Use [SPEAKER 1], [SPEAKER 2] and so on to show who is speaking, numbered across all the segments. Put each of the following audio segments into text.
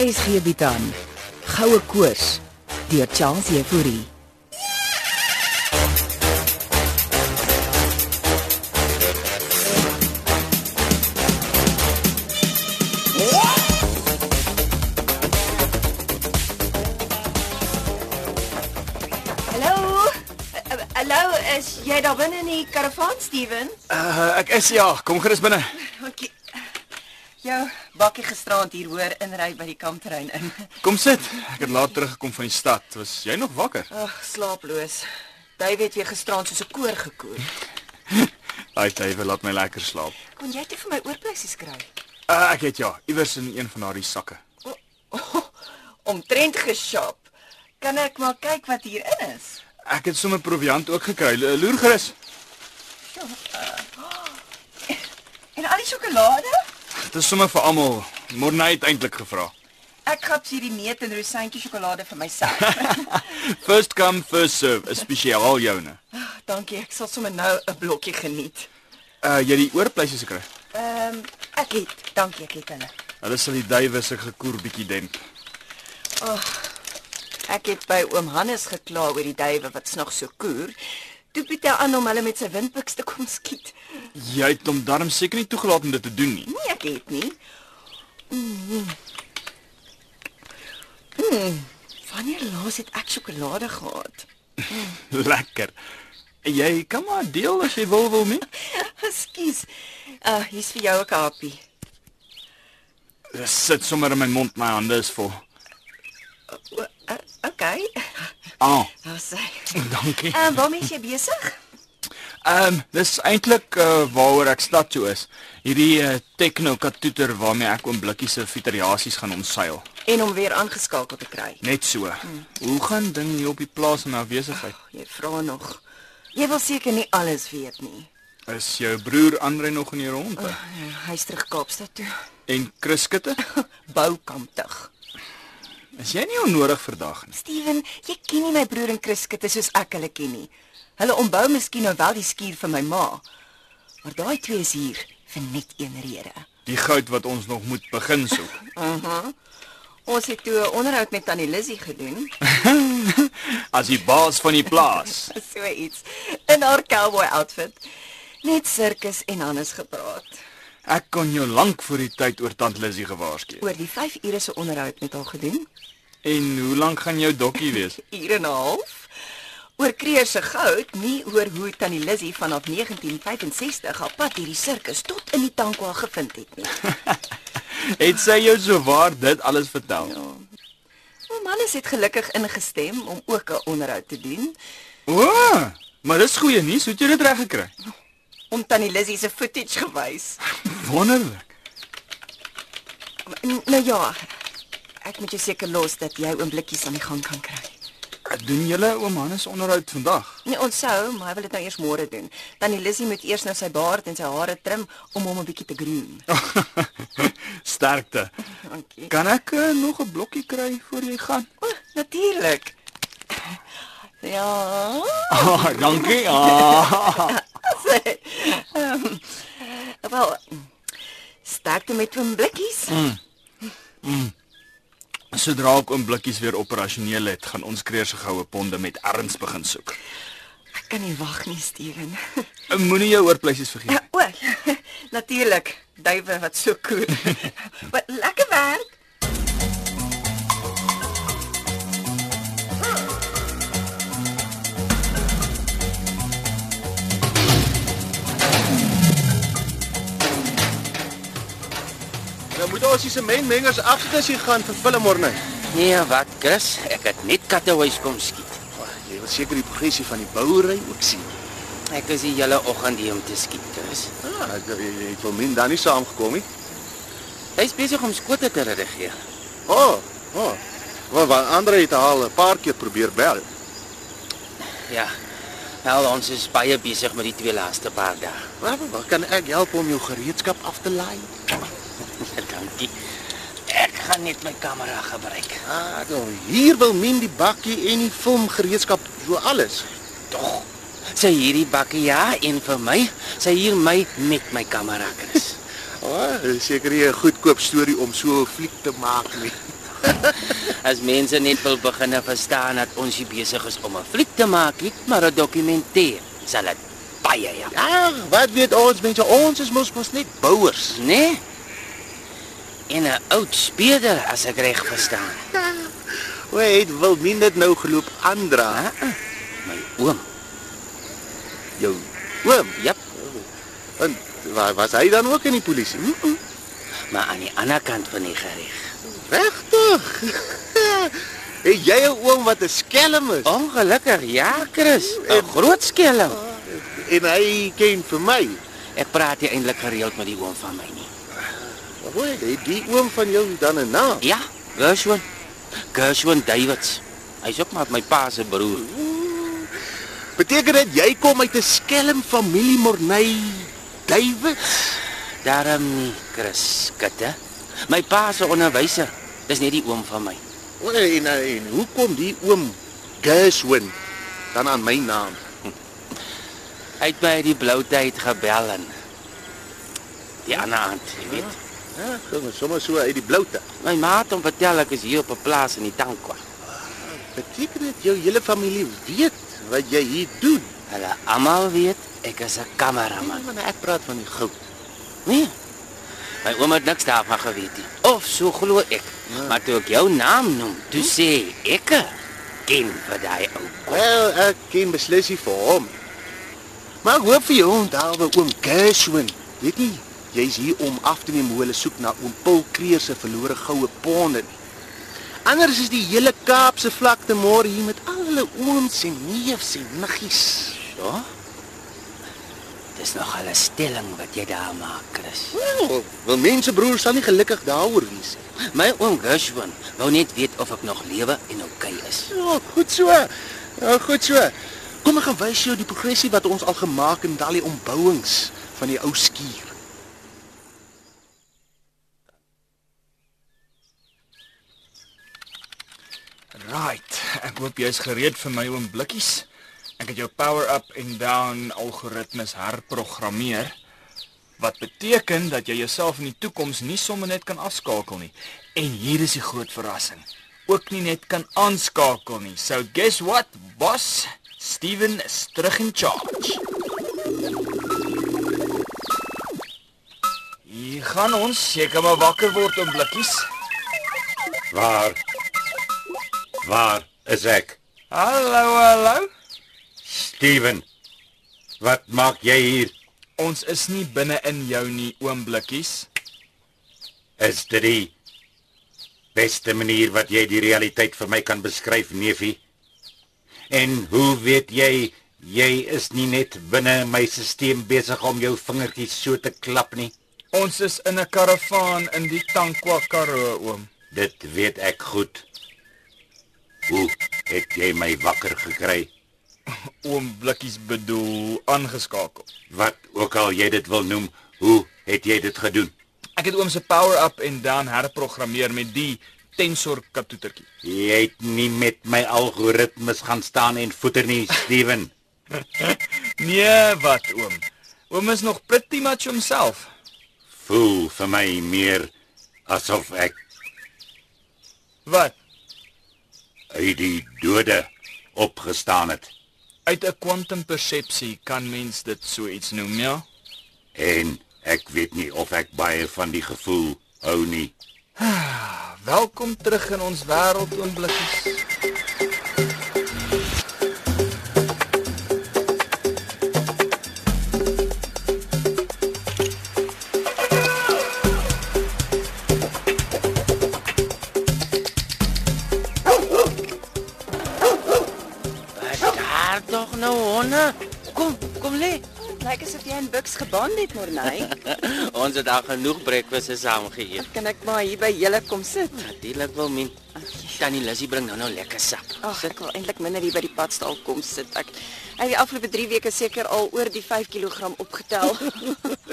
[SPEAKER 1] RSG bied aan Goue Koors deur Charles Euphorie.
[SPEAKER 2] Hallo. Eh, eh, Hallo, is jy daar binne in die karavaan, Steven?
[SPEAKER 3] Uh, ek is ja, kom gerus binne.
[SPEAKER 2] Dankie. Jou bakkie gisteraand hier hoor inry by die kampterrein in.
[SPEAKER 3] Kom sit. Ek het laat teruggekom van die stad. Was jy nog wakker?
[SPEAKER 2] Ag, slaaploos. David het weer gisteraand soos 'n koor gekoer.
[SPEAKER 3] Daai tywe laat my lekker slaap.
[SPEAKER 2] Kon jy dit vir my oorpleisies kry?
[SPEAKER 3] Uh, ek het ja, iewers in een van daardie sakke.
[SPEAKER 2] Omtrent geshop. Kan ek maar kyk wat hierin is?
[SPEAKER 3] Ek het sommer proviant ook gekry. Lo- Loer gerus.
[SPEAKER 2] En al die sjokolade?
[SPEAKER 3] Dit is sommer vir almal. Morne het eintlik gevra.
[SPEAKER 2] Ek gaps hierdie neut en rosantjie sjokolade vir myself.
[SPEAKER 3] First come, first serve, is spesiaal joune.
[SPEAKER 2] Ag, Dankie, ek sal sommer nou 'n blokkie geniet.
[SPEAKER 3] Uh, jy het die oorpleisies gekry.
[SPEAKER 2] Ehm, ek het, dankie, ek het hulle.
[SPEAKER 3] Hulle sal die duwe se gekoer bietjie demp.
[SPEAKER 2] Ek het by oom Hannes gekla oor die duwe wat snog so koer. Toe bied hy aan om hulle met sy windpiks te kom skiet.
[SPEAKER 3] Jy het hom darm seker nie toegelaat om dit te doen nie.
[SPEAKER 2] Nee, ek het nie. Mm. Hmm. Mm. Wanneer laas het ek sjokolade gehad?
[SPEAKER 3] Lekker. Jy kan maar deel as jy wil wil nie.
[SPEAKER 2] Ekskuus. Ah, uh, hier's vir jou 'n kaapie.
[SPEAKER 3] Dit sit sommer in my mond, my hande is vol.
[SPEAKER 2] O, uh, okay.
[SPEAKER 3] Ah,
[SPEAKER 2] Daar's hy.
[SPEAKER 3] dankie.
[SPEAKER 2] Ehm, waarmee is jy besig?
[SPEAKER 3] Ehm um, dis eintlik uh, waaroor ek stad toe is. Hierdie uh, techno katoeter waarmee ek oom Blikkie se vitariasies gaan omseil.
[SPEAKER 2] En om weer aangeskakel te kry.
[SPEAKER 3] Net so. Hmm. Hoe gaan ding hier op die plaas in afwesigheid?
[SPEAKER 2] Jy vra nog. Jy wil seker nie alles weet nie.
[SPEAKER 3] Is jou broer Andre nog in die ronde? Uh.
[SPEAKER 2] Ja, Hy's terug Kaapstad toe.
[SPEAKER 3] En Chris Skutte?
[SPEAKER 2] Boukamptig.
[SPEAKER 3] Is jy nie onnodig vandag nie?
[SPEAKER 2] Steven, jy ken nie my broer en Chris Skutte soos ek hulle ken nie. Hulle ontbou miskien nou wel die skuur vir my ma. Maar daai twee is hier vir net een rede.
[SPEAKER 3] Die goud wat ons nog moet begin soek.
[SPEAKER 2] Ons het toe 'n onderhoud met Tannie Lizzie gedoen,
[SPEAKER 3] As die baas van die plaas.
[SPEAKER 2] so iets in haar cowboy outfit. Net sirkus en Hannes gepraat.
[SPEAKER 3] Ek kon jou lank voor die tyd oor tant Lizzie gewaarsku.
[SPEAKER 2] Oor die 5 ure se onderhoud met haar gedoen,
[SPEAKER 3] En hoe lank gaan jou dokkie wees?
[SPEAKER 2] ure en 'n half. Oor Kreer se goud, nie oor hoe Tannie Lizzie vanaf 1965 haar pad hierdie sirkus tot in die Tankwa gevind het nie.
[SPEAKER 3] Het sy jou so waar dit alles vertel?
[SPEAKER 2] Oom Hannes het gelukkig ingestem om ook 'n onderhoud te doen
[SPEAKER 3] O, maar dis goeie nuus. Hoe het jy dit reg gekry?
[SPEAKER 2] om tannie Lizzie se footage gewys.
[SPEAKER 3] Wonderlik.
[SPEAKER 2] N- Nou ja, ek moet jou seker los dat jy oomblikkies aan die gang kan kry.
[SPEAKER 3] Doen julle oom Hannes onderhoud vandag?
[SPEAKER 2] Nee, ons sou, maar hy wil dit nou eers môre doen. Tannie Lizzie moet eers nou sy baard en sy hare trim om hom 'n bietjie te groom.
[SPEAKER 3] Sterkte.
[SPEAKER 2] Dankie.
[SPEAKER 3] Kan ek uh, nog 'n blokkie kry voor jy gaan?
[SPEAKER 2] O, natuurlik. Ja.
[SPEAKER 3] Ah, dankie. Ah.
[SPEAKER 2] Ehm, Wel, sterkte met oomblikkies.
[SPEAKER 3] Sodra ek oom Blikkies weer operasioneel het, gaan ons kreer se goue ponde met erns begin soek.
[SPEAKER 2] Ek kan nie wag nie, Steven.
[SPEAKER 3] Uh, Moenie jou oorpleisies vergeet.
[SPEAKER 2] Ja, o, natuurlik. Duiwe wat so koer. wat lekker werk.
[SPEAKER 4] Nou moet ons die sementmengers agter sy gaan vir Villemorne.
[SPEAKER 5] Nee, wat Chris? Ek het net kattehuis kom skiet.
[SPEAKER 4] Jy wil seker die progressie van die bouery ook sien.
[SPEAKER 5] Ek is die hele oggend hier om te skiet, Chris.
[SPEAKER 4] Ah, ek jy jy het wel min dan nie saamgekom nie.
[SPEAKER 5] Hy's besig om skote te redigeer.
[SPEAKER 4] O, oh, o. Oh. Wel, want Andre het al 'n paar keer probeer bel.
[SPEAKER 5] Ja. Wel, ons is baie besig met die twee laaste paar dae.
[SPEAKER 4] Maar wat kan ek help om jou gereedskap af te laai?
[SPEAKER 5] Dankie. Ek gaan net my kamera gebruik.
[SPEAKER 4] Ah, nou, hier wil min die bakkie en die filmgereedskap, so alles.
[SPEAKER 5] Tog. Sy hierdie bakkie ja en vir my, sy hier my met my kamera, Chris.
[SPEAKER 4] Ja, O, oh, seker jy 'n goedkoop storie om so 'n fliek te maak nie.
[SPEAKER 5] As mense net wil begin verstaan dat ons hier besig is om 'n fliek te maak, nie maar 'n dokumentêr, sal dit baie ja.
[SPEAKER 4] Ag, wat weet ons mense? Ons is mos mos net bouers.
[SPEAKER 5] Nee. En 'n oud speeder as ek reg verstaan.
[SPEAKER 4] Hoe het wil nie dit nou geloop aandra.
[SPEAKER 5] Ah, ah, my oom.
[SPEAKER 4] Jou oom,
[SPEAKER 5] Jep.
[SPEAKER 4] en waar was hy dan ook in die polisie? Mm -mm.
[SPEAKER 5] Maar aan die ander kant van die gereg.
[SPEAKER 4] Regtig? het jy 'n oom wat 'n skelm is?
[SPEAKER 5] Ongelukkig, ja, Chris. 'n Groot skelm.
[SPEAKER 4] En hy ken vir my.
[SPEAKER 5] Ek praat nie eintlik gereeld met die oom van my nie.
[SPEAKER 4] Hoe het die oom van jou dan 'n naam?
[SPEAKER 5] Ja, Gershwin. Gershwin Davids. Hy's ook maar my pa se broer.
[SPEAKER 4] Beteken dit jy kom uit 'n skelm familie Morney Davids?
[SPEAKER 5] Daarom nie, Chris Kutte. My pa se onderwyser. Dis net die oom van my.
[SPEAKER 4] O, En, eh, en hoe kom die oom Gershwin dan aan my naam?
[SPEAKER 5] Hy het my uit die blou tyd gebel en die ander aand, jy weet.
[SPEAKER 4] Ja, kom ons sommer so uit die bloute.
[SPEAKER 5] My ma het hom vertel ek is hier op 'n plaas in die Tankwa.
[SPEAKER 4] Beteken dit jou hele familie weet wat jy hier doen?
[SPEAKER 5] Hulle almal weet ek is 'n kameraman.
[SPEAKER 4] Ja, man, ek praat van die goud.
[SPEAKER 5] Nee. My ouma het niks daarvan geweet nie. Of so glo ek. Maar toe ek jou naam noem, toe sê ek er, ken vir daai ou.
[SPEAKER 4] Wel, ek ken beslis nie vir hom. Maar ek hoop vir jou onthou by oom Gershwin. Weet nie, jy's hier om af te neem hoe hulle soek na oom Paul Kreer se verlore goue ponde nie. Anders is die hele Kaapse vlakte môre hier met al hulle ooms en neefs en niggies.
[SPEAKER 5] Ja. Dis nog 'n stelling wat jy daar maak, Chris.
[SPEAKER 4] Wel, wel mense broer sal nie gelukkig daaroor wees nie.
[SPEAKER 5] My oom Gershwin wou net weet of ek nog lewe en oukei is.
[SPEAKER 4] Ja, goed so. Ja, goed so. Kom ek gaan wys jou die progressie wat ons al gemaak het met al die ombouings van die ou skuur.
[SPEAKER 3] Right. Ek hoop jy's gereed vir my oom blikkies. Ek het jou power-up en down algoritmes herprogrammeer wat beteken dat jy jouself in die toekoms nie sommer net kan afskakel nie. En hier is die groot verrassing. Ook nie net kan aanskakel nie. So guess what, boss? Steven is terug in charge. Hier gaan ons seker maar wakker word om blikkies.
[SPEAKER 6] Waar? Waar is ek?
[SPEAKER 3] Hallo, hallo.
[SPEAKER 6] Steven. Wat maak jy hier?
[SPEAKER 3] Ons is nie binne in jou nie, oom Blikkies.
[SPEAKER 6] Is dit die beste manier wat jy die realiteit vir my kan beskryf, neefie? En hoe weet jy jy is nie net binne my stelsel besig om jou vingertjies so te klap nie?
[SPEAKER 3] Ons is in 'n karavaan in die Tankwa Karoo, oom.
[SPEAKER 6] Dit weet ek goed. Hoe het jy my wakker gekry?
[SPEAKER 3] Oom Blikkies bedoel aangeskakel.
[SPEAKER 6] Wat ook al jy dit wil noem, hoe het jy dit gedoen?
[SPEAKER 3] Ek het oom se power-up en dan herprogrammeer met die tensor katoetertjie.
[SPEAKER 6] Jy het nie met my algoritmes gaan staan en voeter nie, Steven.
[SPEAKER 3] Nee, wat oom? Oom is nog pretty much homself.
[SPEAKER 6] Voel vir my meer asof ek
[SPEAKER 3] Wat?
[SPEAKER 6] uit die dode opgestaan het
[SPEAKER 3] Uit 'n kwantumpersepsie kan mens dit so iets noem, ja?
[SPEAKER 6] en ek weet nie of ek baie van die gevoel hou nie.
[SPEAKER 3] Welkom terug in ons wêreld, oom Blikkies.
[SPEAKER 5] Wat daar tog nou honde? Kom, kom lê.
[SPEAKER 2] Lyk asof jy in Bucks gebaan het, Morney.
[SPEAKER 5] Ons het al genoeg breakfaste saam geëet.
[SPEAKER 2] kan ek maar hier by julle kom sit?
[SPEAKER 5] Natuurlik wil min. Tannie Lissy bring nou nou lekker sap.
[SPEAKER 2] Ag, ek wil eintlik minder hier by die padstal kom sit. Ek in die afgelope 3 weke seker al oor die 5 kg opgetel.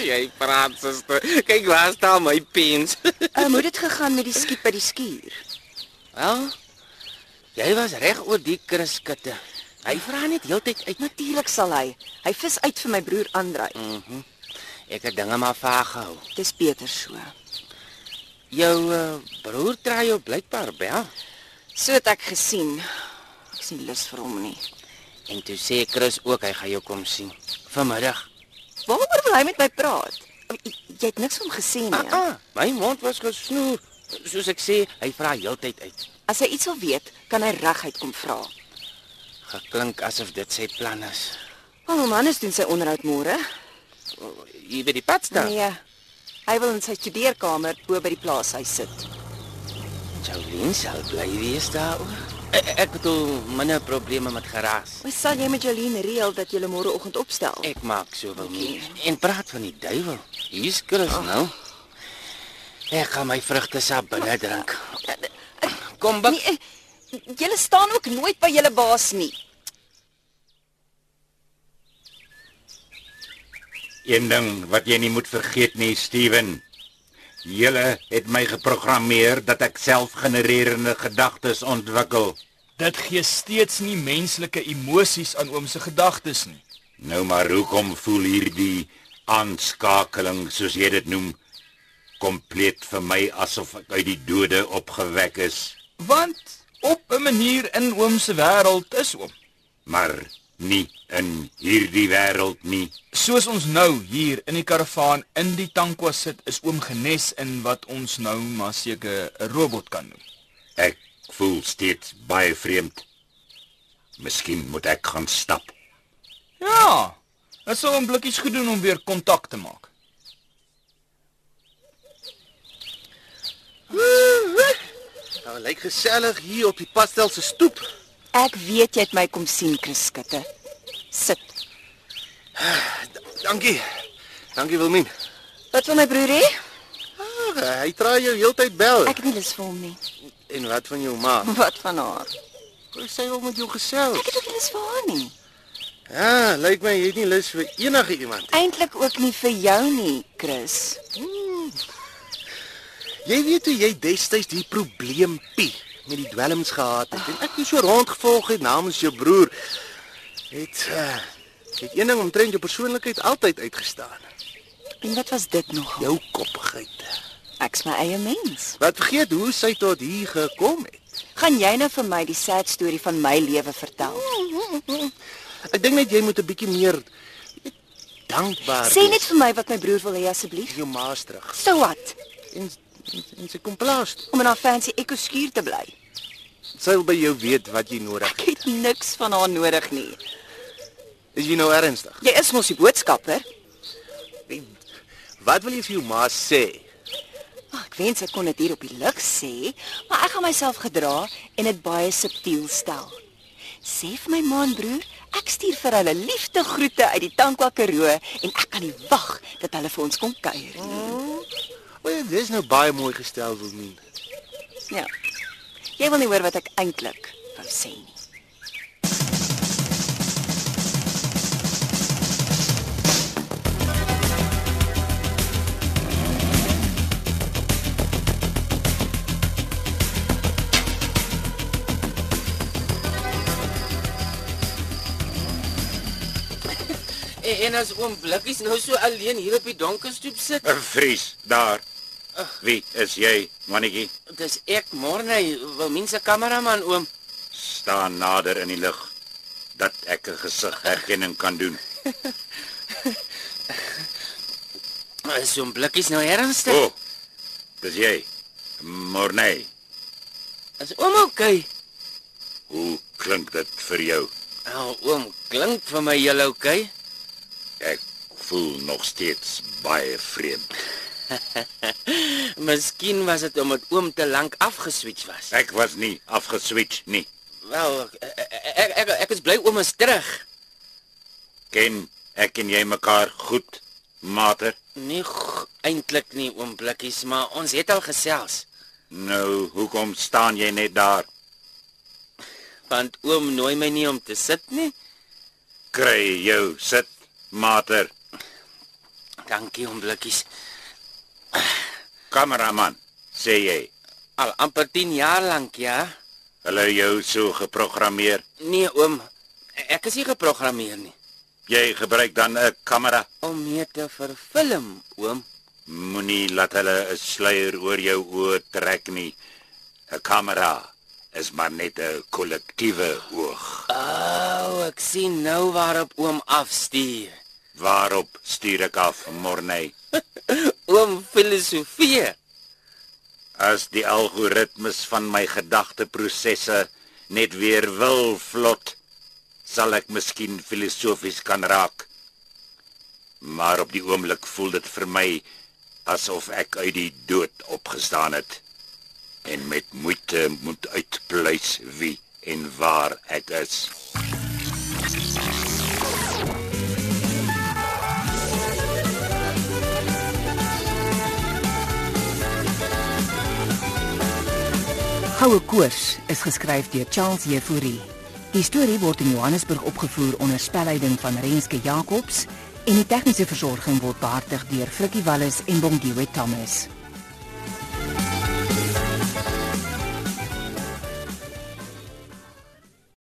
[SPEAKER 5] Jy praat suster. Kyk waar staan my pens.
[SPEAKER 2] Ehm, Hoe het dit gegaan met die skiet by die skuur?
[SPEAKER 5] Wel, jy was reg oor die Chris Kutte. Hy vra net heeltyd uit.
[SPEAKER 2] Natuurlik sal hy. Hy vis uit vir my broer Andrei.
[SPEAKER 5] Ek het dinge maar vaag gehou.
[SPEAKER 2] Dis beter so.
[SPEAKER 5] Jou uh, broer try jou blykbaar bel.
[SPEAKER 2] So het ek gesien. Ek sien lus vir hom nie.
[SPEAKER 5] En toe sê Chris ook hy gaan jou kom sien vanmiddag.
[SPEAKER 2] Waaroor wil hy met my praat? Jy, jy het niks van hom gesê nie.
[SPEAKER 5] Ah, ah, my mond was gesnoer. Soos ek sê, hy vra heeltyd uit.
[SPEAKER 2] As hy iets wil weet, kan hy reguit kom vra.
[SPEAKER 5] Geklink asof dit sy plan is.
[SPEAKER 2] Wel, Manus doen sy onderhoud môre.
[SPEAKER 5] O, Hier by die pad staan.
[SPEAKER 2] Nee. Hy wil in sy studeerkamer bo by die plaashuis sit.
[SPEAKER 5] Jolien sal bly wees daaroor. Ek, ek bedoel minder probleme met geraas.
[SPEAKER 2] Hoe sal jy met Jolene reël dat jy môre oggend opstel?
[SPEAKER 5] Ek maak so wil nie. En praat van die duiwel. Hier's Chris
[SPEAKER 4] Ah.
[SPEAKER 5] oh. nou. Ek gaan my vrugtesap binne drink. Kom bak.
[SPEAKER 2] Nee, julle staan ook nooit by julle baas nie.
[SPEAKER 6] Een ding wat jy nie moet vergeet nie, Steven. Julle het my geprogrammeer dat ek selfgenererende gedagtes ontwikkel.
[SPEAKER 3] Dit gee steeds nie menslike emosies aan oom se gedagtes nie.
[SPEAKER 6] Nou maar hoekom voel hierdie aanskakeling soos jy dit noem kompleet vir my asof ek uit die dode opgewek is?
[SPEAKER 3] Want op 'n manier in oom se wêreld is oom.
[SPEAKER 6] Maar nie in hierdie wêreld nie.
[SPEAKER 3] Soos ons nou hier in die karavaan in die tankwa sit, is oom genes in wat ons nou maar seker 'n robot kan noem.
[SPEAKER 6] Ek voel steeds baie vreemd. Miskien moet ek gaan stap.
[SPEAKER 3] Ja. Dit sou hom blikkies goed doen om weer kontak te maak.
[SPEAKER 4] Nou lyk gesellig hier op die pastel se stoep.
[SPEAKER 2] Ek weet jy het my kom sien, Chris Skutte. Sit.
[SPEAKER 4] Dankie. Dankie Wilmien.
[SPEAKER 2] Wat wil my broer hê?
[SPEAKER 4] Ag, hy traai jou heeltyd bel.
[SPEAKER 2] Ek het nie lus vir hom nie.
[SPEAKER 4] En wat van jou ma?
[SPEAKER 5] Hm.
[SPEAKER 2] Wat van haar?
[SPEAKER 4] Hoe sy wil met jou gesels?
[SPEAKER 2] Ek het ook nie lus vir haar nie.
[SPEAKER 4] Ja, lyk my jy het nie lus vir enige iemand.
[SPEAKER 2] Eintlik ook nie vir jou nie, Chris.
[SPEAKER 4] Jy weet hoe jy destyds die probleem pie met die dwelms gehad het en ek het so rondgevolg het namens jou broer. Het uh, het een ding omtrent jou persoonlikheid altyd uitgestaan.
[SPEAKER 2] En wat was dit nog?
[SPEAKER 4] Jou koppigheid.
[SPEAKER 2] Ek's my eie mens.
[SPEAKER 4] Wat vergeet hoe sy tot hier gekom het.
[SPEAKER 2] Gaan jy nou vir my die sad storie van my lewe vertel?
[SPEAKER 4] Ek dink net jy moet 'n bietjie meer dankbaar
[SPEAKER 2] Sê
[SPEAKER 4] wees
[SPEAKER 2] net vir my wat my broer wil hê asseblief.
[SPEAKER 4] vir jou ma's terug.
[SPEAKER 2] So wat?
[SPEAKER 4] En, en, en sy kom plaas. toe.
[SPEAKER 2] Om in haar fancy ekoskuur te bly.
[SPEAKER 4] Sy wil by jou weet wat jy nodig
[SPEAKER 2] Ek het niks van haar nodig nie.
[SPEAKER 4] Is jy nou ernstig?
[SPEAKER 2] Jy is mos die boodskapper.
[SPEAKER 4] Wat wil jy vir jou ma sê?
[SPEAKER 2] Ag, Ah, ek wens ek kon dit hier op die lug sê, maar ek gaan myself gedra en dit baie subtiel stel. Sê vir my man broer, ek stuur vir hulle liefde groete uit die Tankwa Karoo en ek kan nie wag dat hulle vir ons kom kuier nie.
[SPEAKER 4] O, ja, dis nou baie mooi gestel, Wilmien.
[SPEAKER 2] Ja. Jy wil nie hoor wat ek eintlik wou sê nie.
[SPEAKER 5] En, en as oom Blikkies nou so alleen hier op die donker stoep sit,
[SPEAKER 6] 'n Vries daar. Wie is jy, mannetjie?
[SPEAKER 5] dis ek Morney, wil mense kameraman oom.
[SPEAKER 6] Staan nader in die lig dat ek 'n gesigherkenning kan doen.
[SPEAKER 5] Is oom Blikkies nou ernstig?
[SPEAKER 6] O. Oh, dis jy. Morney,
[SPEAKER 5] Is oom okay?
[SPEAKER 6] hoe klink dit vir jou?
[SPEAKER 5] Nou oom klink vir my heel okay.
[SPEAKER 6] Ek voel nog steeds baie vreemd.
[SPEAKER 5] Miskien was dit omdat oom te lank afgeswitch was.
[SPEAKER 6] Ek was nie afgeswitch nie.
[SPEAKER 5] Wel, ek ek ek, ek is bly oom is terug.
[SPEAKER 6] Ken ek en jy mekaar goed, mater?
[SPEAKER 5] Nie g- eintlik Nee, nie oom Blikkies, maar ons het al gesels.
[SPEAKER 6] Nou, hoekom staan jy net daar?
[SPEAKER 5] Want oom nooi my nie om te sit nie.
[SPEAKER 6] Kry jou sit, mater.
[SPEAKER 5] Dankie oom Blikkies.
[SPEAKER 6] Kameraman, sê jy.
[SPEAKER 5] Al amper 10 jaar lank, ja.
[SPEAKER 6] Hulle het jou so geprogrammeer.
[SPEAKER 5] Nee oom, ek is nie geprogrammeer nie
[SPEAKER 6] Jy gebruik dan 'n kamera.
[SPEAKER 5] om mee te verfilm, oom.
[SPEAKER 6] Moenie laat hulle 'n sluier oor jou oë trek nie. 'n Kamera is maar net 'n kollektiewe oog.
[SPEAKER 5] O, ek sien nou waarop oom afstuur.
[SPEAKER 6] Waarop stuur ek af, Morney?
[SPEAKER 5] Oom filosofie.
[SPEAKER 6] As die algoritmes van my gedagteprosesse net weer wil vlot, sal ek miskien filosofies kan raak. Maar op die oomblik voel dit vir my asof ek uit die dood opgestaan het en met moeite moet uitpleis wie en waar ek is.
[SPEAKER 2] Goue Koors is geskryf deur Charles Jefouri. Die storie word in Johannesburg opgevoer onder spelleiding van Renske Jacobs en die tegniese versorging word behartig deur Frikkie Wallis en Bongwe Thomas.